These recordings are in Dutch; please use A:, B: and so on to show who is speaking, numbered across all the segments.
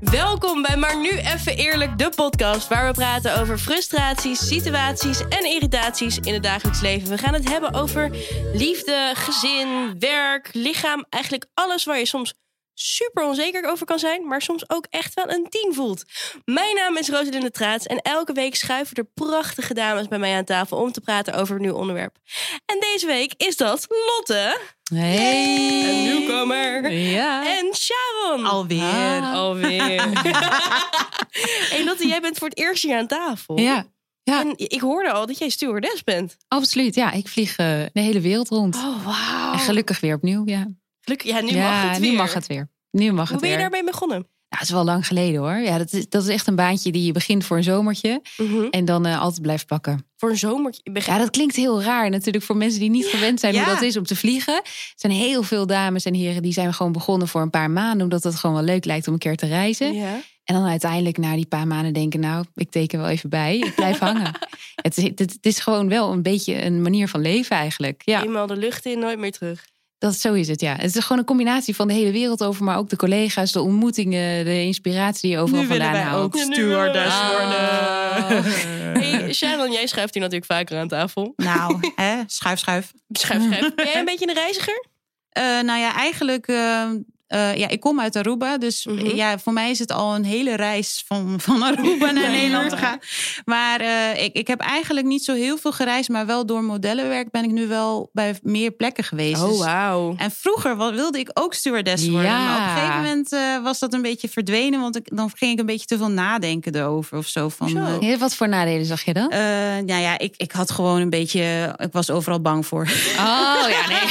A: Welkom bij Maar Nu Even Eerlijk, de podcast waar we praten over frustraties, situaties en irritaties in het dagelijks leven. We gaan het hebben over liefde, gezin, werk, lichaam. Eigenlijk alles waar je soms super onzeker over kan zijn, maar soms ook echt wel een tien voelt. Mijn naam is Rosalinde Traats en elke week schuiven er prachtige dames bij mij aan tafel om te praten over een nieuw onderwerp. En deze week is dat Lotte,
B: Hey.
A: een nieuwkomer,
B: Ja.
A: en Sharon.
B: Eh, Alweer.
A: Alweer. hey Lotte, jij bent voor het eerst hier aan tafel.
B: Ja,
A: En ik hoorde al dat jij stewardess bent.
B: absoluut. Ja, ik vlieg eh, de hele wereld rond.
A: Oh, wauw.
B: En gelukkig weer opnieuw. Ja,
A: Gelukkig. Ja, nu
B: ja,
A: mag het
B: nu
A: weer.
B: mag het weer. Nu mag
A: Hoe
B: het
A: ben je
B: weer.
A: daarmee begonnen?
B: Nou, het is wel lang geleden hoor. Ja, dat is, dat is echt een baantje die je begint voor een zomertje
A: Mhm.
B: en dan eh, altijd blijft plakken.
A: Voor een zomertje. Ik ben
B: Ja, dat klinkt heel raar natuurlijk voor mensen die niet gewend zijn
A: Ja.
B: hoe dat is om te vliegen. Er zijn heel veel dames en heren die zijn gewoon begonnen voor een paar maanden, omdat het gewoon wel leuk lijkt om een keer te reizen.
A: Ja.
B: En dan uiteindelijk na die paar maanden denken, nou, ik teken wel even bij. Ik blijf hangen. Het is, het, het is gewoon wel een beetje een manier van leven eigenlijk. Ja,
A: Eenmaal de lucht in, nooit meer terug.
B: dat, zo is het ja. Het is gewoon een combinatie van de hele wereld over, maar ook de collega's, de ontmoetingen, de inspiratie die je overal vandaan haalt.
A: ook stewardess
B: Ah.
A: Hey, Sharon, jij schuift hier natuurlijk vaker aan tafel.
C: Nou, hè, schuif, schuif.
A: Schuif, schuif. Ben jij een beetje een reiziger?
C: Eh, nou ja, eigenlijk, eh, eh, ja, ik kom uit Aruba. Dus
A: Mhm.
C: ja, voor mij is het al een hele reis van, van Aruba naar
A: Ja.
C: Nederland te gaan. Maar eh, ik, ik heb eigenlijk niet zo heel veel gereisd. Maar wel door modellenwerk ben ik nu wel bij meer plekken geweest. Dus-
A: Oh, wauw.
C: En vroeger wa- wilde ik ook stewardess worden.
B: Ja.
C: Maar op een gegeven moment eh, was dat een beetje verdwenen. Want ik, dan ging ik een beetje te veel nadenken erover of zo. Van,
A: Zo.
C: eh,
B: Hé, Wat voor nadelen zag je dan?
C: eh, nou ja, ik, ik had gewoon een beetje... Ik was overal bang voor.
B: Oh ja, nee.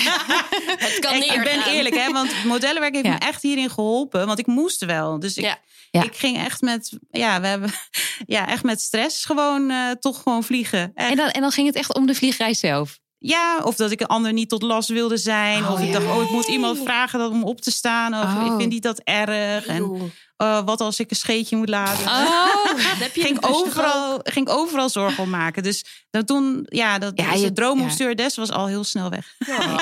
A: Het kan
C: Ik-
A: niet.
C: ik, ben eerlijk, hè, want modellenwerk heeft
B: Ja.
C: me echt hierin geholpen. Want ik moest wel. Dus ik,
A: Ja.
B: Ja.
C: ik ging echt met, ja, we hebben, ja, echt met stress gewoon eh, toch gewoon vliegen. Echt.
B: En dan, en dan ging het echt om de vliegreis zelf.
C: Ja, of dat ik een ander niet tot last wilde zijn.
B: Oh,
C: of ik
B: ja.
C: dacht, oh, ik moet iemand vragen dat om op te staan. Of
B: Oh.
C: ik vind niet dat erg. En eh, wat als ik een scheetje moet laten.
B: Oh.
A: Heb je
C: Ging overal, ging overal zorgen om maken. Dus dat toen, ja, dat
B: Ja,
C: dus
B: je-
C: de droom
B: ja.
C: om stewardess was al heel snel weg.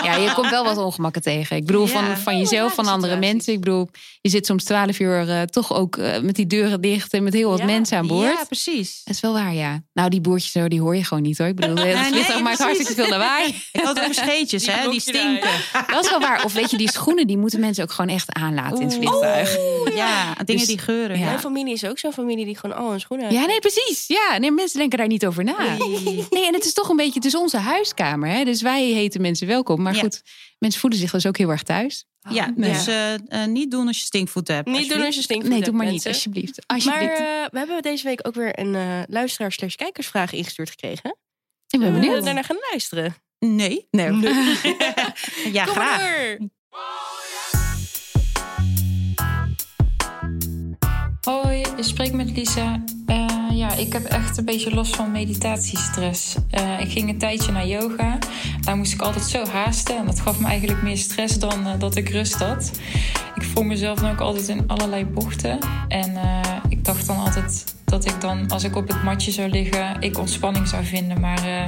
B: Ja, je komt wel wat ongemakken tegen. Ik bedoel,
C: Ja.
B: van, van jezelf, van
A: rare
B: andere
A: situaties.
B: mensen. Ik bedoel, je zit soms twaalf uur eh, toch ook eh, met die deuren dicht en met heel wat
A: Ja.
B: mensen aan boord.
C: Ja, precies.
B: Dat is wel waar, ja. Nou, die boertjes hoor, die hoor je gewoon niet hoor. Ik bedoel, het
C: nee,
B: vliegtuig maakt
C: precies.
B: hartstikke veel lawaai.
C: Ik had ook scheetjes, hè? Die stinken.
B: Dat is wel waar. Of weet je, die schoenen, die moeten mensen ook gewoon echt aanlaten in het
A: Oeh.
B: vliegtuig.
C: Ja,
A: Dus
C: dingen die geuren.
B: ja.
C: Ja.
A: Mijn familie is ook zo'n familie die gewoon al een schoen uit.
B: Ja, nee, precies. Ja, nee, mensen denken daar niet over na. Nee, en het is toch een beetje, het is onze huiskamer. Hè? Dus wij heten mensen welkom. Maar
C: Ja.
B: goed, mensen voelen zich dus ook heel erg thuis. Ah,
C: Ja, dus eh, eh, niet doen als je stinkvoet hebt.
A: Oh, Niet doen als je stinkt.
B: Nee, doe maar niet, alsjeblieft.
A: Maar
B: Alsjeblieft.
A: eh, we hebben deze week ook weer een eh luisteraar slash kijkersvraag ingestuurd gekregen.
B: ik ben
A: Zullen
B: benieuwd.
A: we daarna gaan luisteren?
C: Nee.
B: Nee.
C: Ja,
A: Kom
C: graag.
A: maar door!
D: Hoi, ik spreek met Lisa. Eh, ja, ik heb echt een beetje last van meditatiestress. Eh, ik ging een tijdje naar yoga. Daar moest ik altijd zo haasten. En dat gaf me eigenlijk meer stress dan eh, dat ik rust had. Ik vond mezelf dan ook altijd in allerlei bochten. En eh, ik dacht dan altijd dat ik dan, als ik op het matje zou liggen, ik ontspanning zou vinden. Maar eh,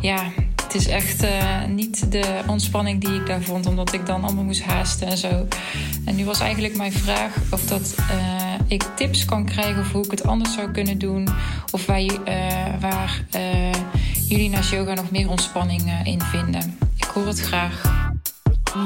D: ja, het is echt eh, niet de ontspanning die ik daar vond, omdat ik dan allemaal moest haasten en zo. En nu was eigenlijk mijn vraag of dat, eh, ik tips kan krijgen of hoe ik het anders zou kunnen doen. Of wij, eh, waar eh, jullie naast yoga nog meer ontspanning eh, in vinden. Ik hoor het graag.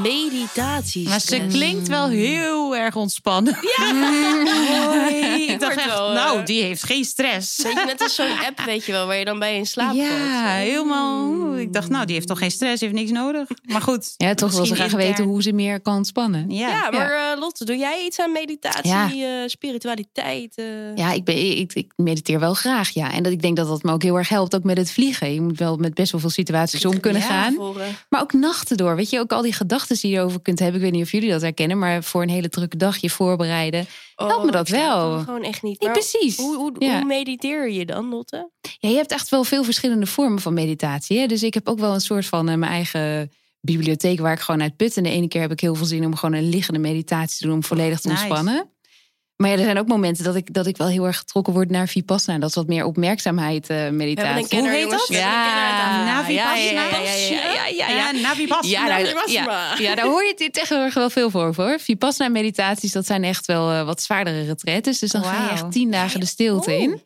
A: Meditaties. Eh,
C: Maar ze klinkt wel heel erg ontspannen. Ja. Ik dacht
A: Wordt
C: echt,
A: wel, eh,
C: nou, die heeft geen stress.
A: Weet je, net als zo'n app, weet je wel, waar je dan bij in slaap
C: Ja,
A: valt.
C: helemaal.
A: mm.
C: oeh, Ik dacht, nou, die heeft toch geen stress, heeft niks nodig. Maar goed.
B: Ja, toch wil ze
C: misschien
B: graag
C: intern.
B: weten hoe ze meer kan ontspannen.
C: Ja.
A: Ja, maar eh, Lotte, doe jij iets aan meditatie, eh, spiritualiteit? eh?
B: Ja, ik, ben, ik, ik mediteer wel graag, ja. En dat, ik denk dat dat me ook heel erg helpt, ook met het vliegen. Je moet wel met best wel veel situaties om kunnen
A: Ja,
B: gaan.
A: voor, eh,
B: Maar ook nachten door, weet je. Ook al die gedachten die je over kunt hebben. Ik weet niet of jullie dat herkennen, maar voor een hele drukke dag je voorbereiden. Helpt me dat
A: oh, ik snap
B: wel.
A: het Gewoon echt niet.
B: Nee,
A: Maar
B: precies.
A: Hoe, hoe,
B: Ja.
A: hoe mediteer je dan, Lotte?
B: Ja, je hebt echt wel veel verschillende vormen van meditatie. Hè? Dus ik heb ook wel een soort van eh, mijn eigen bibliotheek waar ik gewoon uit put. En de ene keer heb ik heel veel zin om gewoon een liggende meditatie te doen om volledig te
C: Nice.
B: ontspannen. Maar ja, er zijn ook momenten dat ik, dat ik wel heel erg getrokken word naar Vipassana. Dat is wat meer opmerkzaamheid eh,
A: We hebben een
B: meditatie.
A: kenner,
C: heet
A: jongens.
C: dat?
A: We hebben een kenner aan tafel.
B: Ja.
C: Navi
B: ja,
C: Pasna.
B: ja, ja, ja, ja, ja, ja.
C: Navi Pasna.
B: Ja,
A: Nou,
B: nou,
A: die was er
B: ja,
A: maar.
B: ja, daar hoor je het tegenwoordig wel veel voor hoor. Vipassana meditaties, dat zijn echt wel eh, wat zwaardere retretes. Dus dan ga je
C: Wauw.
B: echt tien dagen de stilte
A: Oh.
B: in.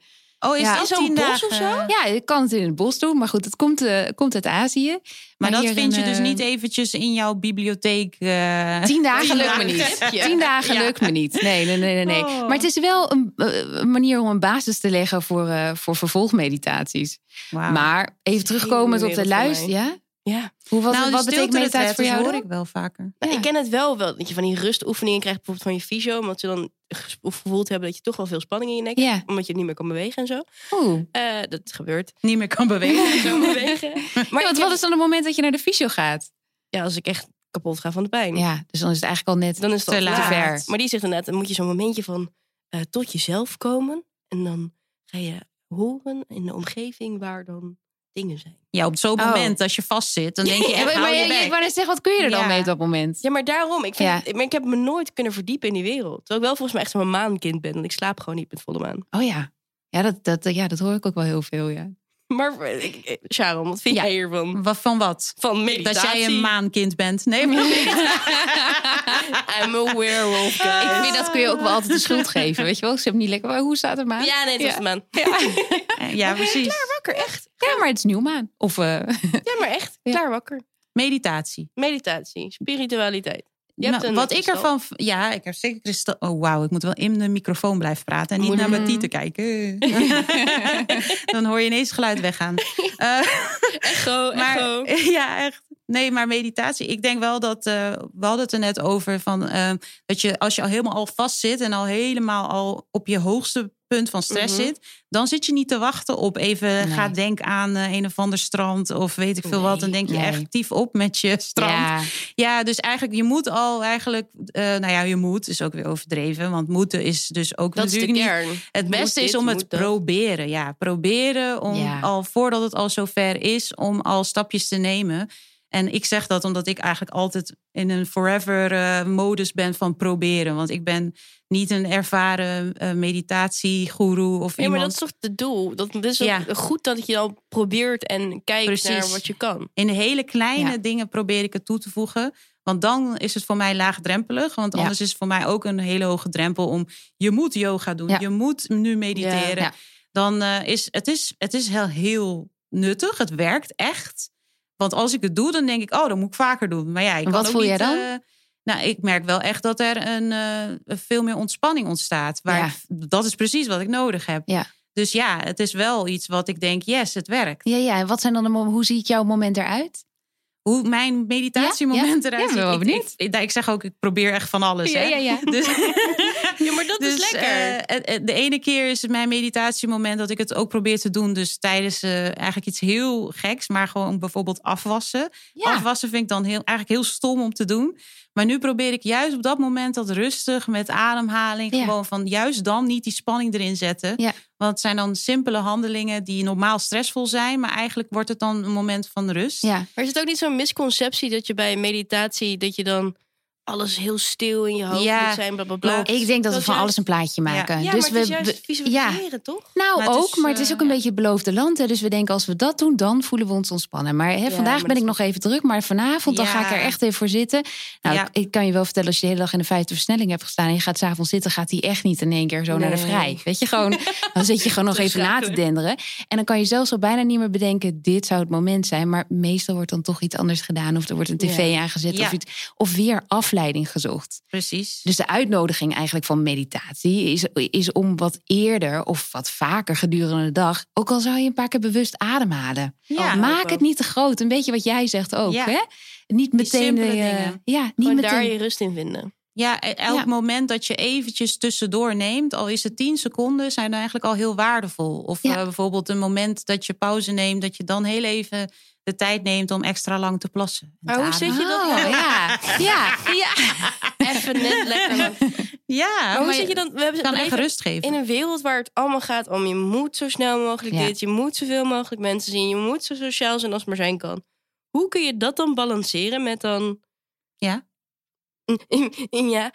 C: Oh, is
B: Ja.
C: dat
A: Zo'n
C: tien
A: bos
C: dagen?
A: of zo?
C: Maar,
B: Ja, je kan het in het bos doen. Maar goed, het komt, eh, komt uit Azië. Maar,
C: dat
B: hier
C: vind
B: in,
C: je dus
B: eh,
C: niet eventjes in jouw bibliotheek. eh,
B: Tien dagen
A: Tien
B: lukt me
A: dagen
B: niet.
A: tipje.
B: Tien dagen lukt me niet. Nee, nee, nee, nee. nee.
C: Oh.
B: Maar het is wel een, eh, een manier om een basis te leggen voor, eh, voor vervolgmeditaties.
C: Wauw.
B: Maar even terugkomend
A: wereld
B: op de
A: voor
B: luister.
A: mij.
B: Ja?
A: Ja.
B: Hoe, wat
C: nou,
B: wat
C: de
B: betekent meditatie
C: stilteretreats
B: voor jou?
C: dus, hoor
B: dan?
C: ik wel vaker.
A: Nou,
B: Ja.
A: Ik ken het wel, wel dat je van die rustoefeningen krijgt, bijvoorbeeld van je fysio, omdat ze dan ges- gevoeld hebben dat je toch wel veel spanning in je nek hebt,
B: Ja.
A: omdat je niet meer kan bewegen en zo.
B: Oeh.
A: Eh, dat gebeurt.
C: Niet meer kan bewegen.
A: Zo bewegen. Maar
B: ja,
A: ik
B: want
A: heb-
B: wat is dan het moment dat je naar de fysio gaat?
A: ja, als ik echt kapot ga van de pijn,
B: Ja, dus dan is het eigenlijk al net.
A: dan is dat
C: te laat.
B: ver.
A: Maar die zegt inderdaad, dan moet je zo'n momentje van eh, tot jezelf komen en dan ga je horen in de omgeving waar dan dingen zijn.
C: Ja, op zo'n
B: Oh.
C: moment als je vastzit, dan denk je
B: Ja,
C: echt, hou je
B: je- ik
C: bek.
B: wou net zeggen, wat kun je er dan
C: Ja.
B: mee op dat moment?
A: Ja, maar daarom. Ik, vind,
B: Ja.
A: ik- maar ik heb me nooit kunnen verdiepen in die wereld. Terwijl ik wel volgens mij echt zo'n maankind ben. Want ik slaap gewoon niet met volle maan.
B: Oh ja. Ja dat, dat, ja, dat hoor ik ook wel heel veel. Ja.
A: Maar eh, ik- eh, Sharon, wat vind
C: Ja.
A: jij hiervan?
C: Wat van wat?
A: Van meditatie?
C: Dat jij een maankind bent. Nee, maar
A: I'm a werewolf, guys.
B: Ik vind dat kun je ook wel altijd de schuld geven. Weet je wel, ze hebben niet lekker. maar Hoe staat er maan?
A: Ja, nee, dat is de maan.
C: Eh, Ja, precies.
A: Wakker, echt.
B: Ja, maar het is nieuwmaan. Of eh,
A: Ja, maar echt.
B: Ja.
A: Klaar wakker.
C: Meditatie.
A: Meditatie, spiritualiteit. Je hebt
C: Nou,
A: een
C: wat ik
A: kristal.
C: ervan. v- Ja, ik heb zeker kristal. Oh, wauw. Ik moet wel in de microfoon blijven praten. En niet
A: Moet-
C: naar mijn tieten kijken.
A: Mm.
C: Dan hoor je ineens het geluid weggaan. Eh,
A: Echo, echo.
C: maar, ja, echt. Nee, maar meditatie. Ik denk wel dat. eh, we hadden het er net over. Van, eh, dat je als je al helemaal al vast zit. En al helemaal al op je hoogste punt van stress
A: Mhm.
C: zit. Dan zit je niet te wachten op even.
B: Nee.
C: Ga denk aan eh, een of ander strand. Of weet ik veel wat. Dan denk je
B: Nee.
C: echt tief op met je strand.
B: ja.
C: Ja, dus eigenlijk, je moet al eigenlijk, eh, nou ja, je moet is ook weer overdreven, want moeten is dus ook
A: Dat is de
C: natuurlijk niet.
A: kern.
C: Het
A: Moet
C: beste is
A: dit,
C: om het
A: moet dat.
C: proberen. Ja, proberen om
B: Ja.
C: al voordat het al zover is, om al stapjes te nemen. En ik zeg dat omdat ik eigenlijk altijd in een forever eh, modus ben van proberen. Want ik ben niet een ervaren eh meditatiegoeroe of
A: Ja, maar
C: iemand.
A: dat is toch het doel? Dat, dat is ook
C: Ja.
A: goed dat je al probeert en kijkt naar
C: Precies.
A: wat je kan.
C: In de hele kleine
B: Ja.
C: dingen probeer ik het toe te voegen. Want dan is het voor mij laagdrempelig. Want
B: Ja.
C: anders is het voor mij ook een hele hoge drempel om... je moet yoga doen,
B: Ja.
C: je moet nu mediteren.
B: Ja.
C: Dan eh, is het, is, het is heel, heel nuttig, het werkt echt. Want als ik het doe, dan denk ik, oh, dat moet ik vaker doen. Maar ja, ik
B: En
C: kan
B: wat
C: ook
B: voel jij
C: niet,
B: dan?
C: eh, nou, ik merk wel echt dat er een, eh, veel meer ontspanning ontstaat. Waar
B: Ja.
C: ik- dat is precies wat ik nodig heb.
B: Ja.
C: Dus ja, het is wel iets wat ik denk, yes, het werkt.
B: Ja, ja, en wat zijn dan de mom- hoe ziet jouw moment eruit?
C: hoe mijn meditatiemoment
B: Ja, ja.
C: eruit
B: Ja,
C: ziet.
B: ben wel
C: Ik-
B: benieuwd.
C: Ik, ik, nou, ik zeg ook, ik probeer echt van alles.
B: Ja,
C: hè.
B: ja, ja.
C: Dus,
A: Ja, maar dat
C: dus,
A: is lekker.
C: eh, het- het- de ene keer is het mijn meditatiemoment dat ik het ook probeer te doen. Dus tijdens eh, eigenlijk iets heel geks, maar gewoon bijvoorbeeld afwassen.
B: Ja.
C: Afwassen vind ik dan heel, eigenlijk heel stom om te doen. Maar nu probeer ik juist op dat moment dat rustig met ademhaling.
B: Ja.
C: Gewoon van juist dan niet die spanning erin zetten.
B: Ja.
C: Want het zijn dan simpele handelingen die normaal stressvol zijn. Maar eigenlijk wordt het dan een moment van rust.
B: Ja.
A: Maar is het ook niet zo'n misconceptie dat je bij meditatie dat je dan alles heel stil in je hoofd
C: Ja,
A: moet zijn, bla bla bla.
B: Ik denk dat we
A: Dat
B: van
A: juist-
B: alles een plaatje maken.
A: ja, maar
B: dus
A: het is
B: we,
A: juist
B: we- ja,
A: visualiseren, toch?
B: Nou,
C: Maar het
B: ook,
C: is,
B: maar het is
C: eh,
B: ook een
C: ja.
B: beetje het beloofde land. Hè? Dus we denken, als we dat doen, dan voelen we ons ontspannen. Maar hè,
A: Ja,
B: vandaag
A: maar
B: ben
A: dat-
B: ik nog even druk, maar vanavond dan
C: Ja.
B: ga ik er echt even voor zitten. Nou,
C: Ja.
B: ik- ik kan je wel vertellen, als je de hele dag in de vijfde versnelling hebt gestaan... en je gaat s'avonds zitten, gaat die echt niet in één keer zo naar de
A: Nee.
B: vrij. Weet je, gewoon, dan zit je gewoon nog
A: Dat is
B: even na te denderen. En dan kan je zelfs al bijna niet meer bedenken, dit zou het moment zijn. Maar meestal wordt dan toch iets anders gedaan. Of er wordt een tv
A: Ja.
B: aangezet
C: Ja.
B: of, iets, of weer afleiding gezocht.
C: Precies.
B: Dus de uitnodiging eigenlijk van meditatie is, is om wat eerder of wat vaker gedurende de dag, ook al zou je een paar keer bewust ademhalen.
C: Ja.
B: Maak
A: ook.
B: het niet te groot. Een beetje wat jij zegt ook.
C: Ja.
B: Hè? Niet meteen.
C: simpele
B: de, eh,
C: dingen.
B: Ja, niet
A: Gewoon
B: meteen.
A: daar je rust in vinden.
C: Ja, e- elk
B: Ja.
C: moment dat je eventjes tussendoor neemt, al is het 10 seconden, zijn eigenlijk al heel waardevol. Of
B: Ja.
C: eh, bijvoorbeeld een moment dat je pauze neemt, dat je dan heel even de tijd neemt om extra lang te plassen. en
A: Maar
C: te
A: hoe
C: ademen.
A: zit je dat nou
B: Oh,
A: dan?
B: ja. ja, ja.
A: Even net lekker. Maar
C: Ja,
A: hoe
C: maar
A: zit je dan? We hebben
C: Het kan echt
A: leven
C: rust geven.
A: in een wereld waar het allemaal gaat om je moet zo snel mogelijk
B: Ja.
A: dit, je moet zoveel mogelijk mensen zien, je moet zo sociaal zijn als het maar zijn kan. Hoe kun je dat dan balanceren met dan
C: Ja.
A: ja.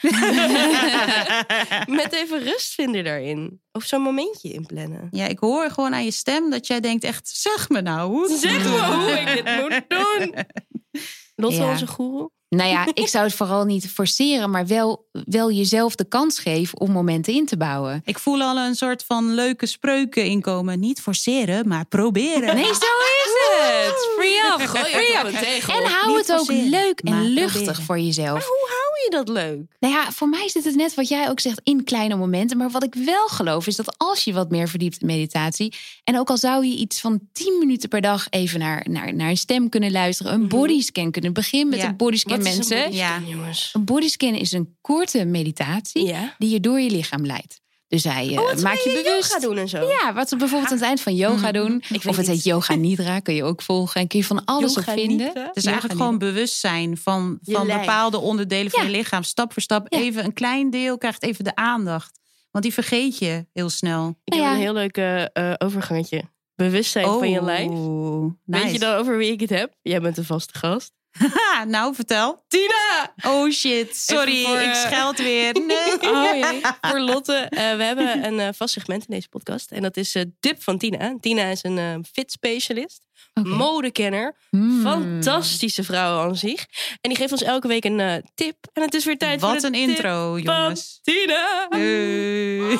A: Met even rust vinden daarin. Of zo'n momentje inplannen.
C: Ja, ik hoor gewoon aan je stem dat jij denkt echt, zeg me nou hoe. het
A: Zeg
C: moet.
A: me hoe ik dit moet doen. Lotte,
B: Ja.
A: onze goeroe.
B: Nou ja, ik zou het vooral niet forceren, maar wel, wel jezelf de kans geven om momenten in te bouwen.
C: Ik voel al een soort van leuke spreuken inkomen. Niet forceren, maar proberen.
B: Nee, zo is het. Free up.
A: Gooi
B: Free
A: het
B: up.
A: op een tegel.
B: En hou
C: Niet
B: het ook
C: forceren,
B: leuk
C: maar
B: en luchtig
C: proberen.
B: voor jezelf.
A: Hoe hou je dat leuk?
B: Nou ja, voor mij zit het net wat jij ook zegt in kleine momenten. Maar wat ik wel geloof is dat als je wat meer verdiept in meditatie. En ook al zou je iets van 10 minuten per dag even naar, naar, naar een stem kunnen luisteren. Een bodyscan kunnen. Begin met
C: Ja.
B: een bodyscan,
A: Mhm. Wat is een
B: mensen.
A: bodyscan,
C: Ja.
A: jongens.
B: Een bodyscan is een korte meditatie
A: Ja. Oh,
B: die je door je lichaam leidt. Dus hij eh,
A: Wat
B: maakt je bewust.
A: yoga doen en zo.
B: Ja, wat we bijvoorbeeld aan het eind van yoga doen.
A: weet
B: Of het
A: niet.
B: heet yoga nidra, kun je ook volgen. En kun je van alles
A: Yoga
B: op vinden.
A: nidra?
C: Het is
B: Yoga
C: eigenlijk gewoon bewustzijn van,
A: Je
C: van
A: lijf.
C: bepaalde onderdelen van
B: Ja.
C: je lichaam. Stap voor stap.
B: Ja.
C: Even een klein deel krijgt even de aandacht. Want die vergeet je heel snel.
A: Ik
B: Nou
A: heb
B: ja.
A: een heel leuk eh, eh, overgangetje. Bewustzijn van je lijf. Weet je
C: Oh, nice.
A: dan over wie ik het heb? Jij bent een vaste gast.
C: Ha, nou, vertel.
A: Tina!
C: Oh shit, sorry,
A: voor,
C: ik
A: eh,
C: scheld weer. Nee.
A: Oh jee. Voor Lotte. eh, we hebben een eh, vast segment in deze podcast. En dat is eh Dip van Tina. Tina is een eh, fit specialist.
B: Oké.
A: Modekenner.
B: Hmm.
A: Fantastische vrouw aan zich. En die geeft ons elke week een eh, tip. En het is weer tijd voor
C: Wat
A: de
C: een
A: tip
C: intro,
A: van
C: jongens.
A: Tina!
C: Hey.
E: Dit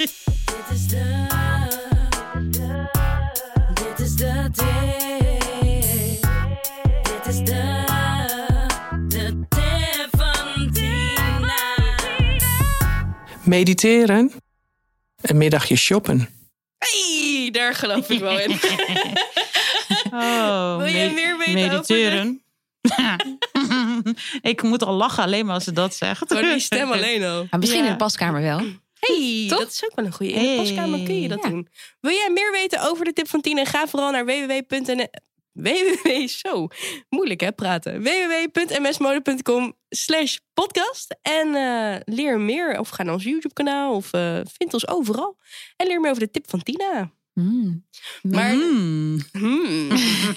E: is de, dit is de tip. Dit is de, de tip van Tina.
F: mediteren, een middagje shoppen.
A: Hey, daar geloof ik wel in.
C: Oh,
A: Wil je
C: me-
A: meer weten over
C: mediteren? ik moet al lachen alleen maar als ze dat zegt.
A: de... Gewoon Oh, die stem alleen al.
B: Maar Nou, misschien
C: Ja.
B: in de paskamer wel.
A: Hey,
B: Toch?
A: dat is ook wel een goede. In de
C: Hey.
A: paskamer kun je dat
B: Ja.
A: doen. Wil jij meer weten over de tip van Tina? Ga vooral naar www.nl www, zo, moeilijk hè, praten. www.msmode.com slash podcast. En eh, leer meer of ga naar ons YouTube kanaal of eh, vind ons overal. En leer meer over de tip van Tina.
B: Hmm.
A: Maar,
C: Hmm.
A: hmm,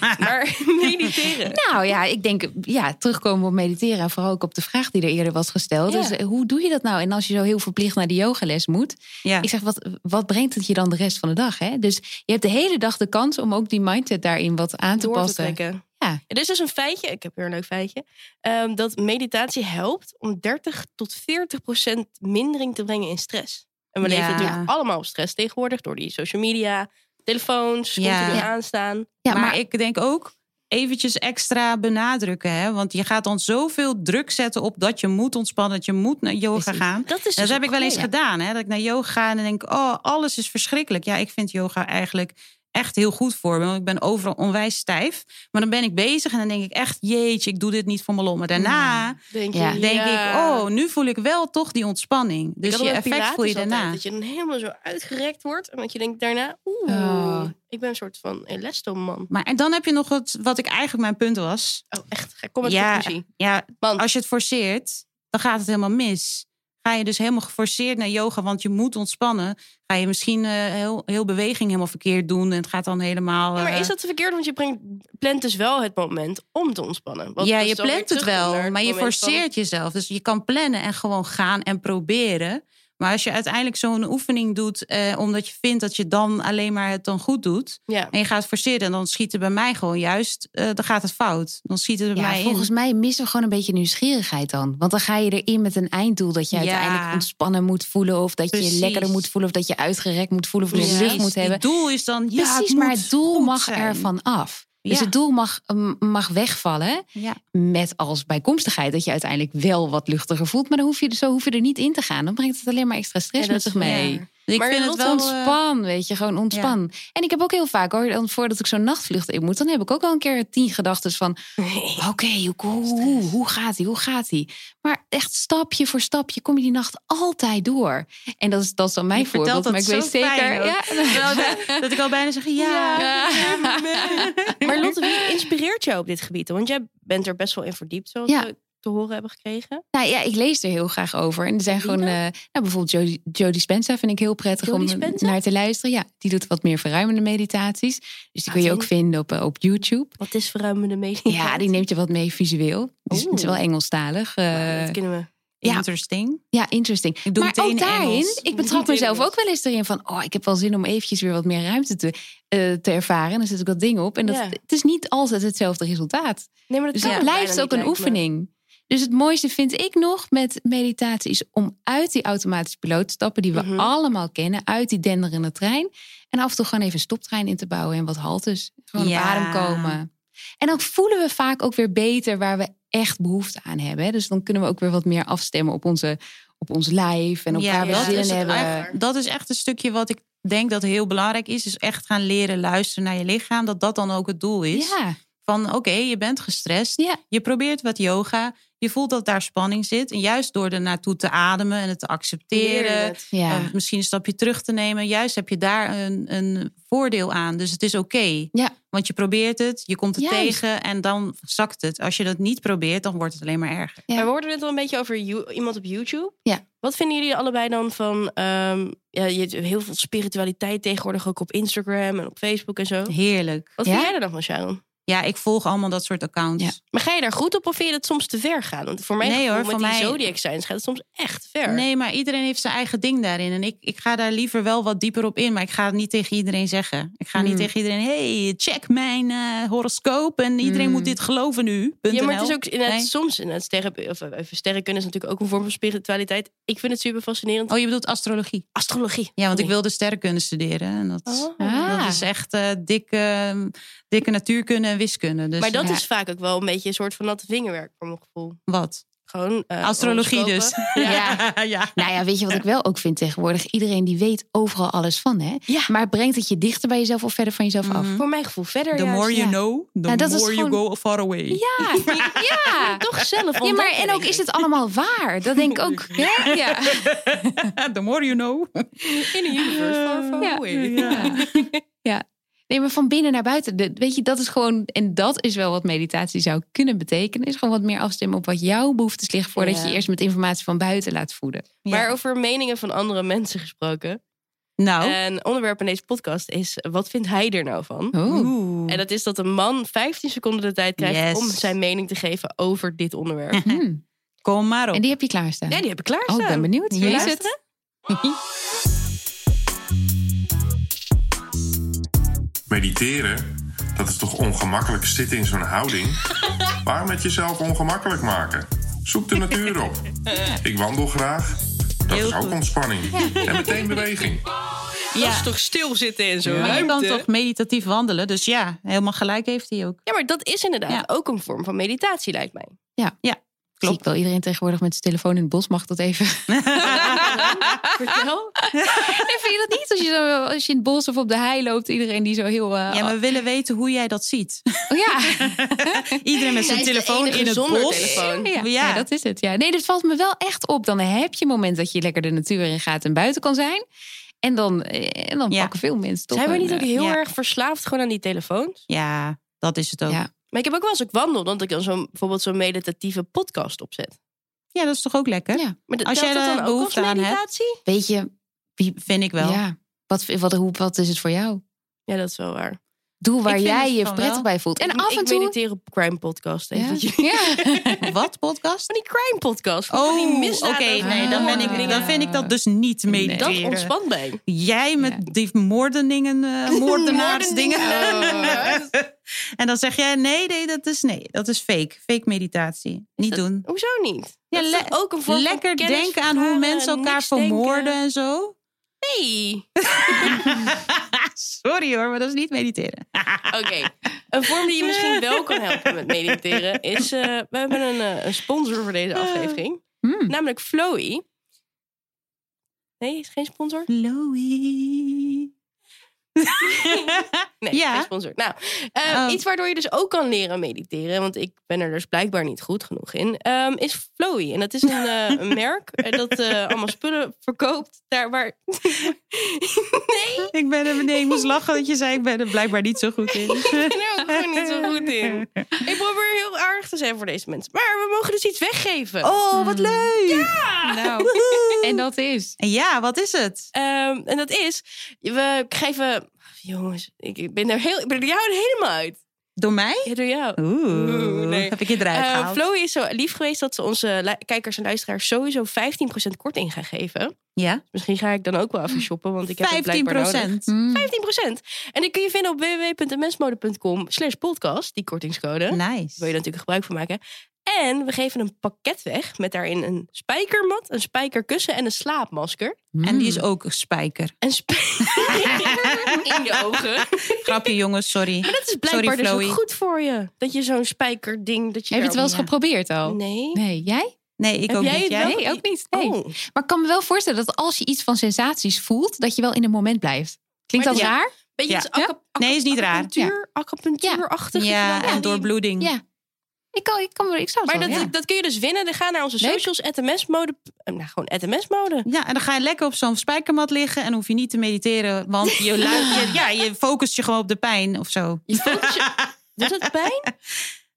A: maar mediteren.
B: Nou ja, ik denk ja, terugkomen op mediteren. En vooral ook op de vraag die er eerder was gesteld.
A: Ja.
B: Dus eh, hoe doe je dat nou? En als je zo heel verplicht naar de yogales moet.
C: Ja.
B: Ik zeg, wat, wat brengt het je dan de rest van de dag? Hè? Dus je hebt de hele dag de kans om ook die mindset daarin wat aan te
A: door te
B: passen.
A: trekken.
B: Ja.
A: Er is dus een feitje, ik heb weer een leuk feitje, ehm, dat meditatie helpt om 30 tot 40 procent mindering te brengen in stress. En we leven
C: Ja.
A: natuurlijk allemaal op stress tegenwoordig door die social media, telefoons,
C: Ja.
A: continu
B: Ja.
A: aanstaan.
B: Ja,
C: maar,
B: maar,
C: ik denk ook eventjes extra benadrukken. Hè? Want je gaat dan zoveel druk zetten op dat je moet ontspannen, dat je moet naar yoga
B: Precies.
C: gaan.
A: Dat is dus
C: En dat heb ik wel eens
B: ja.
C: gedaan. Hè? Dat ik naar yoga ga en dan denk ik, oh, alles is verschrikkelijk. Ja, ik vind yoga eigenlijk echt heel goed voor me. Want ik ben overal onwijs stijf. Maar dan ben ik bezig en dan denk ik echt, jeetje, ik doe dit niet voor mijn lol. Maar daarna
A: Denk,
B: Ja.
A: je,
C: denk
A: ja.
C: ik, oh, nu voel ik wel toch die ontspanning.
A: Ik
C: Dus
A: had
C: je
A: dat met
C: effect
A: Pilates
C: voel je
A: altijd,
C: daarna.
A: Dat je dan helemaal zo uitgerekt wordt. En dat je denkt daarna, oeh,
B: Oh.
A: ik ben een soort van elastoman.
C: Maar en dan heb je nog het, wat ik eigenlijk mijn punt was.
A: Oh, echt, ga- kom met
C: Ja.
A: conclusie.
C: Ja,
A: Want-
C: als je het forceert, dan gaat het helemaal mis. Ga je dus helemaal geforceerd naar yoga, want je moet ontspannen. Ga je misschien eh, heel, heel beweging helemaal verkeerd doen en het gaat dan helemaal...
A: Ja, maar
C: eh,
A: is dat verkeerd? Want je brengt, plant dus wel het moment om te ontspannen. Want
C: ja,
A: dat
C: je
A: is dan weer
C: plant het
A: terugkomt naar
C: wel, maar je
A: moment van-
C: forceert jezelf. Dus je kan plannen en gewoon gaan en proberen. Maar als je uiteindelijk zo'n oefening doet, eh, omdat je vindt dat je dan alleen maar het dan goed doet.
A: Ja.
C: En je gaat forceren en dan schiet er bij mij gewoon juist, eh, dan gaat het fout. Dan schiet het bij
B: ja,
C: mij in.
B: volgens mij missen we gewoon een beetje nieuwsgierigheid dan. Want dan ga je erin met een einddoel dat je
C: Ja.
B: uiteindelijk ontspannen moet voelen. Of dat je
C: Precies.
B: lekkerder moet voelen. Of dat je uitgerekt moet voelen. Of meer
A: Precies.
B: lucht moet
C: Het
B: hebben.
C: doel is dan, ja,
B: Precies,
C: het
B: maar
C: moet
B: het doel
C: goed
B: mag
C: zijn.
B: ervan af. Dus
C: Ja.
B: het doel mag, m- mag wegvallen.
C: Ja.
B: Met als bijkomstigheid dat je uiteindelijk wel wat luchtiger voelt. Maar dan hoef je, er- zo hoef je er niet in te gaan. Dan brengt het alleen maar extra stress
A: Ja,
B: met
A: dat is
B: zich mee.
A: waar.
C: Dus ik
A: Maar
C: vind het
A: Lotte,
C: wel... eh,
B: Ontspan, weet je, gewoon ontspan. En ik heb ook heel vaak hoor, dan voordat ik zo'n nachtvlucht in moet, dan heb ik ook al een keer tien gedachten van: oké, hoe, hoe, hoe, hoe gaat die, hoe gaat die? Maar echt stapje voor stapje kom je die nacht altijd door. En dat is, dat is dan mijn
C: Je eh, vertelt
B: voorbeeld,
C: dat
B: maar ik weet
C: zo fijn
B: zeker.
C: ook.
B: Ja.
C: Terwijl de- dat ik al bijna zeg, ja.
A: Maar Lotte, wie inspireert jou op dit gebied? Want jij bent er best wel in verdiept, zoals
B: Ja.
A: ik te horen hebben gekregen?
B: Nou ja, ik lees er heel graag over. En er zijn
A: Wie
B: gewoon,
A: dan?
B: eh, nou bijvoorbeeld Jodie, Jodie Spenza vind ik heel prettig
A: Jodie
B: om
A: Spenza?
B: naar te luisteren. Ja, die doet wat meer verruimende meditaties. Dus die kun je
A: Ah,
B: ook
A: fijn.
B: vinden op, eh, op YouTube.
A: Wat is verruimende media?
B: Ja, die neemt je wat mee visueel. Dus het is
A: Oeh.
B: wel Engelstalig. eh,
A: Nou, dat kunnen we.
B: Ja.
C: Interesting.
B: ja, interesting.
C: Ik doe
B: maar
C: meteen
B: ook daarin,
C: Engels.
B: ik betrap
C: Meteen
B: mezelf
C: Engels.
B: ook wel eens erin van... oh, ik heb wel zin om eventjes weer wat meer ruimte te, eh, te ervaren. En dan zet ik dat ding op. En dat,
A: Ja.
B: het is niet altijd hetzelfde resultaat.
A: Nee, maar dat
B: Dus
A: kan
B: het
A: bijna
B: blijft
A: niet,
B: ook een
A: lijkt me.
B: oefening. Dus het mooiste vind ik nog met meditatie is om uit die automatische piloot te stappen, die we
A: Mhm.
B: allemaal kennen, uit die denderende trein. En af en toe gewoon even een stoptrein in te bouwen en wat haltes. Gewoon op
C: Ja.
B: adem komen. En dan voelen we vaak ook weer beter waar we echt behoefte aan hebben. hè. Dus dan kunnen we ook weer wat meer afstemmen op, onze, op ons lijf en op waar we
A: ja, dus
B: zin
A: dat
B: in
A: is
B: hebben.
A: eigenlijk-
C: dat is echt een stukje wat ik denk dat heel belangrijk is. Is echt gaan leren luisteren naar je lichaam. Dat dat dan ook het doel is.
B: Ja,
C: Van oké, je bent gestrest.
B: ja.
C: Je probeert wat yoga. Je voelt dat daar spanning zit. En juist door er naartoe te ademen en het te accepteren.
A: Heerlijk.
B: ja.
C: eh, misschien een stapje terug te nemen. Juist heb je daar een, een voordeel aan. Dus het is oké.
B: Ja.
C: Want je probeert het, je komt het
B: Juist.
C: tegen en dan zakt het. Als je dat niet probeert, dan wordt het alleen maar erger.
B: Ja.
A: Maar we hoorden het al een beetje over you- iemand op YouTube.
B: Ja.
A: Wat vinden jullie allebei dan van... ehm, ja, je hebt heel veel spiritualiteit tegenwoordig ook op Instagram en op Facebook en zo.
C: Heerlijk.
A: Wat
B: Ja?
A: vind jij er dan van, Sharon?
C: Ja, ik volg allemaal dat soort accounts.
B: Ja.
A: Maar ga je daar goed op of vind je dat soms te ver gaan? Want voor mij
C: Nee, hoor,
A: met
C: voor
A: die
C: mij-
A: zodiac signs gaat het soms echt te ver.
C: Nee, maar iedereen heeft zijn eigen ding daarin. En ik, ik ga daar liever wel wat dieper op in. Maar ik ga het niet tegen iedereen zeggen. Ik ga niet
B: Mm.
A: Hmm.
C: tegen iedereen... hey, check mijn eh, horoscoop. En iedereen
B: Mm.
C: moet dit geloven nu.
A: Hmm. Ja, maar
C: .nl.
A: het is ook inderdaad
C: Nee.
A: soms inderdaad sterren, of eh, even sterrenkunde is natuurlijk ook een vorm van spiritualiteit. Ik vind het super fascinerend.
C: Oh, je bedoelt astrologie.
A: Astrologie.
C: Ja, want ik
A: Nee.
C: wilde sterrenkunde studeren. En dat,
A: Oh.
B: Ah.
C: dat is echt eh, dikke, dikke natuurkunde en wiskunde. Dus
A: maar dat
B: ja.
A: is vaak ook wel een beetje een soort van natte vingerwerk voor mijn gevoel.
C: wat?
A: Gewoon eh,
C: Astrologie dus.
A: horoscopen.
C: ja. ja.
B: Nou ja, weet je wat ik wel ook vind tegenwoordig? Iedereen die weet overal alles van, hè?
A: Ja.
B: Maar brengt het je dichter bij jezelf of verder van jezelf af?
C: Mhm.
A: Voor mijn gevoel verder.
C: The
A: juist.
C: more you
B: ja.
C: know, the
B: Nou, dat is
C: more you
B: gewoon-
C: go far away.
B: Ja, ja.
A: Toch zelf.
B: Ja, maar
A: ontdekken,
B: en ook
A: denk
B: is
A: ik.
B: het allemaal waar? Dat denk ik ook. Ja, ja.
C: the more you know.
A: in een universe far, far
B: Ja.
A: away.
B: Ja. ja. Nee, maar van binnen naar buiten. De- Weet je, dat is gewoon. En dat is wel wat meditatie zou kunnen betekenen. Is gewoon wat meer afstemmen op wat jouw behoeftes liggen. Voordat
A: Ja.
B: je eerst met informatie van buiten laat voeden.
A: Maar over meningen van andere mensen gesproken.
C: Nou.
A: En onderwerp in deze podcast is: wat vindt hij er nou van?
B: Oh.
C: Oeh.
A: En dat is dat een man 15 seconden de tijd krijgt
C: Mm. Yes. Mhm.
A: om zijn mening te geven over dit onderwerp.
B: Hmm.
C: Kom maar op.
B: En die heb je klaarstaan.
A: Ja, die heb ik klaarstaan.
B: Oh, ik ben benieuwd. Wie is het?
A: Luisteren?
G: Mediteren, dat is toch ongemakkelijk zitten in zo'n houding? Waarom het jezelf ongemakkelijk maken? Zoek de natuur op. Ik wandel graag. Dat
C: Heel
G: is ook
C: goed.
G: ontspanning. En meteen beweging.
A: Dat is toch stilzitten en zo.
C: Maar je kan toch meditatief wandelen. Dus ja, helemaal gelijk heeft hij ook.
A: Ja, maar dat is inderdaad
C: Ja.
A: ook een vorm van meditatie, lijkt mij.
B: Zie ik wel iedereen tegenwoordig met zijn telefoon in het bos. Mag dat even?
A: Vertel.
B: Nee, vind je dat niet? Als je, zo, als je in het bos of op de hei loopt, iedereen die zo heel. eh,
C: Ja, maar we willen weten hoe jij dat ziet.
B: oh, ja.
C: Iedereen met zijn
A: Zij is de
C: telefoon
A: enige
C: in het
A: zonder
C: bos.
A: telefoon.
B: Ja,
C: Ja.
B: ja, dat is het. Ja. Nee, dat valt me wel echt op. Dan heb je een moment dat je lekker de natuur in gaat en buiten kan zijn. En dan, eh, en dan
C: Ja.
B: pakken veel mensen toch.
A: Zijn we
B: een,
A: niet ook
B: eh,
A: heel
C: ja.
A: erg verslaafd gewoon aan die telefoons?
C: Ja, dat is het ook. Ja,
B: Ja.
A: Maar ik heb ook wel eens ik wandel, dat ik dan zo'n bijvoorbeeld zo'n meditatieve podcast opzet.
C: dat is toch ook lekker?
B: Ja.
A: Maar dat,
C: Als jij
A: telt dat
C: daar
A: dan ook als
C: behoefte aan hebt.
A: meditatie?
B: Weet je,
C: Vind ik wel.
B: ja. Wat, wat, hoe, wat is het voor jou?
A: Ja, dat is wel waar.
B: Doe waar
C: vind
B: jij
C: het
B: je
C: van
B: prettig
C: wel.
B: bij voelt. En
A: Ik-
B: af en
A: ik
B: toe.
A: mediteer op crime podcast
B: Ja.
A: eventjes.
B: Ja.
C: Wat podcast?
A: Van die crime podcast. van die
C: Oh, oké.
A: misdaad over
C: Nee, dan, ben ik,
A: moordeningen.
C: dan vind ik dat dus niet
A: Dat
C: mediteren.
A: ontspant mij.
C: Jij met die moordeningen, eh moordenaarsdingen.
A: Moordeningen. Oh,
C: en dan zeg jij, nee, nee, dat is, nee, dat is fake. Fake meditatie. Niet doen.
A: Hoezo niet?
C: Ja,
A: Dat is
C: le-
A: toch ook een vorm van
C: Lekker
A: kennis
C: denken aan hoe
A: vergaren,
C: mensen elkaar
A: niks
C: vermoorden
A: denken.
C: en zo. Ah,
A: Nee.
C: Sorry hoor, maar dat is niet mediteren.
A: Oké. Een vorm die je misschien wel kan helpen met mediteren is... eh, we hebben een, eh, een sponsor voor
C: Ah.
A: deze aflevering.
B: Hmm.
A: Namelijk Flowy. Nee, is geen sponsor.
C: Chloe.
A: Nee,
C: Ja.
A: geen sponsor. Nou, eh,
C: Oh.
A: iets waardoor je dus ook kan leren mediteren, want ik ben er dus blijkbaar niet goed genoeg in, ehm, is Flowy. En dat is een, eh, een merk eh, dat eh, allemaal spullen verkoopt daar waar. nee,
C: Ik ben er, nee, ik moest lachen dat je zei, ik ben er blijkbaar niet zo goed in.
A: ik ben er ook gewoon niet zo goed in. Ik probeer heel aardig te zijn voor deze mensen, maar we mogen dus iets weggeven.
C: Oh, wat leuk!
B: Nou, en dat is.
C: Ja, wat is het?
A: Ehm, en dat is, we geven. Jongens, ik, ik ben er heel, ik ben er jou er helemaal uit.
C: Door mij?
A: Ja, door jou.
C: Ehm, Oeh,
A: nee.
C: heb ik je eruit
A: Eh,
C: gehaald.
A: Flowy is zo lief geweest dat ze onze lu- kijkers en luisteraars sowieso 15% korting gaan geven.
C: Ja,
A: Misschien ga ik dan ook wel even shoppen, want ik heb
C: 15
A: het blijkbaar nodig.
C: Hm. procent. Hm.
B: Mm.
A: 15%. En die kun je vinden op www.mensmode.com slash podcast, die kortingscode. Daar
C: Hm? Nice.
A: wil je natuurlijk gebruik van maken. En we geven een pakket weg met daarin een spijkermat, een spijkerkussen en een slaapmasker.
C: En die
B: Mm.
C: is ook een spijker.
A: En spijker in je ogen.
C: Grapje jongens, sorry.
A: Dat is
C: Sorry,
A: blijkbaar dus ook
C: Flowy.
A: goed voor je. Dat je zo'n spijkerding... Dat je
B: Heb je het wel eens
A: daarop-
B: geprobeerd al?
A: Nee.
B: Nee, jij?
C: Nee, ik
A: Heb
C: ook
A: jij
C: niet.
A: het wel?
C: Jij?
B: Nee, ook niet. Nee.
A: Oh.
B: Maar ik kan me wel voorstellen dat als je iets van sensaties voelt, dat je wel in het moment blijft. Klinkt
A: Maar
B: dat
A: ja.
B: raar?
A: Beetje
C: Ja.
A: iets accu-
C: Nee, is niet raar.
A: acupunctuur, acupunctuurachtig.
C: Ja,
A: Van
C: en
A: die-
C: doorbloeding.
B: Ja. Ik, kan, ik, kan, ik zou het
A: Maar dat,
B: wel, ja.
A: dat kun je dus winnen. Dan ga naar onze
B: Leuk.
A: socials, @msmode. eh, Nou, gewoon @msmode.
C: Ja, en dan ga je lekker op zo'n spijkermat liggen en hoef je niet te mediteren, want je, lu- je- ja, je focust je gewoon op de pijn of zo.
A: Je voelt je... Oh. Doet dat pijn?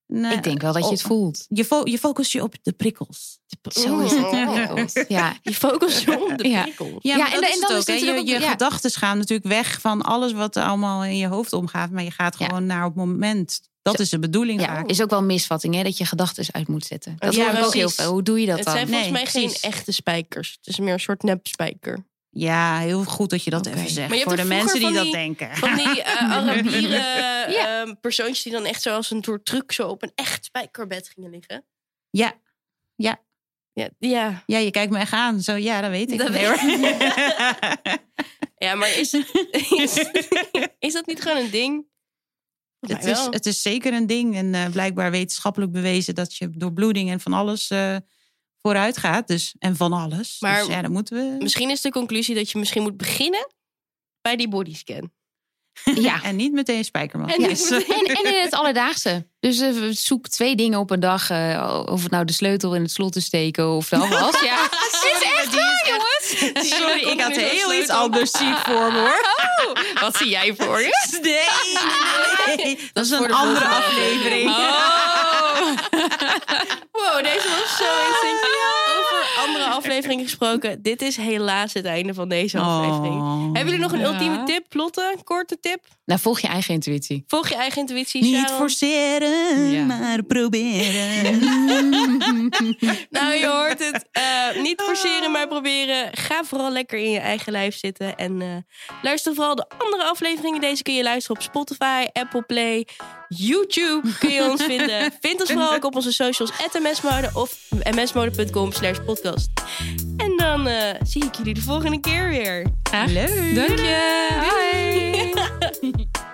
C: Nee,
B: Ik denk wel dat je het
C: op-
B: voelt.
C: Je, fo- je focust je op de prikkels.
B: Zo is
A: Oh.
B: het. inmiddels. Ja.
A: Je focust je op de
B: Ja.
A: prikkel.
C: Ja,
B: Ja,
C: maar
B: en
C: dat
B: da-
C: is
B: en
C: het
B: dan
C: ook.
B: is
C: hè.
B: het
C: Je,
B: natuurlijk
C: je
B: ook- ja.
C: gedachten gaan natuurlijk weg van alles wat er allemaal in je hoofd omgaat. Maar je gaat
B: Ja.
C: gewoon naar op het moment. Dat is de bedoeling
B: Ja,
C: vaak.
B: is ook wel een misvatting hè, dat je gedachten uit moet zetten. Dat
A: Ja,
B: hoor ik ook heel
C: precies.
B: veel. Hoe doe je dat
A: Het
B: dan?
A: zijn volgens
C: Nee,
A: mij geen
C: precies.
A: echte spijkers. Het is meer een soort nepspijker.
C: Ja, heel goed dat je dat even zegt.
A: Maar je hebt
C: voor de
A: toch
C: mensen die,
A: vroeger
C: dat
A: van
C: denken.
A: Van die eh Arabieren ehm, persoontjes die dan echt zoals een soort truc zo op een echt spijkerbed gingen liggen.
C: Ja.
A: Ja, ja.
C: ja, je kijkt me echt aan. Zo, ja, dat weet ik.
A: Dat
C: Nee,
A: weet
C: hoor.
A: ja maar is, het- is, is dat niet gewoon een ding?
C: het,
A: Volgens mij
C: is,
A: wel.
C: het is zeker een ding. En eh, blijkbaar wetenschappelijk bewezen dat je door bloeding en van alles eh, vooruit gaat. Dus, en van alles.
A: Maar-
C: dus ja, dan moeten we.
A: Misschien is de conclusie dat je misschien moet beginnen bij die bodyscan.
B: Ja.
C: En niet meteen spijkermat.
A: En
B: Ja.
A: niet meteen-
B: En, en in het alledaagse. Dus eh, zoek twee dingen op een dag. eh, of het nou de sleutel in het slot te steken of de was. Ja. Dit is echt waar, jongens.
C: Sorry, ik had
A: nu zo'n
C: heel iets
A: sleutel.
C: anders zien voor me hoor.
A: Wat zie jij voor je?
C: Nee, nee, nee, nee. Dat is
B: voor
C: een
B: de
C: andere
B: volgende.
C: aflevering.
A: Oh. Ah. Wow, deze was zo insane. Over andere afleveringen gesproken. Dit is helaas het einde van deze aflevering. Hebben jullie nog een ultieme tip, Lotte? Korte tip?
B: Nou, volg je eigen intuïtie.
A: Volg je eigen intuïtie,
C: Niet
A: Sharon.
C: forceren,
B: Ja.
C: maar proberen.
A: Nou, je hoort het. Eh, niet forceren, maar proberen. Ga vooral lekker in je eigen lijf zitten. En eh, luister vooral de andere afleveringen. Deze kun je luisteren op Spotify, Apple Play, YouTube kun je ons vinden. Vind ons vooral ook op onze socials, msmode of msmode.com slash podcast. En dan eh, zie ik jullie de volgende keer weer.
C: Leuk.
B: Dank je. Hoi.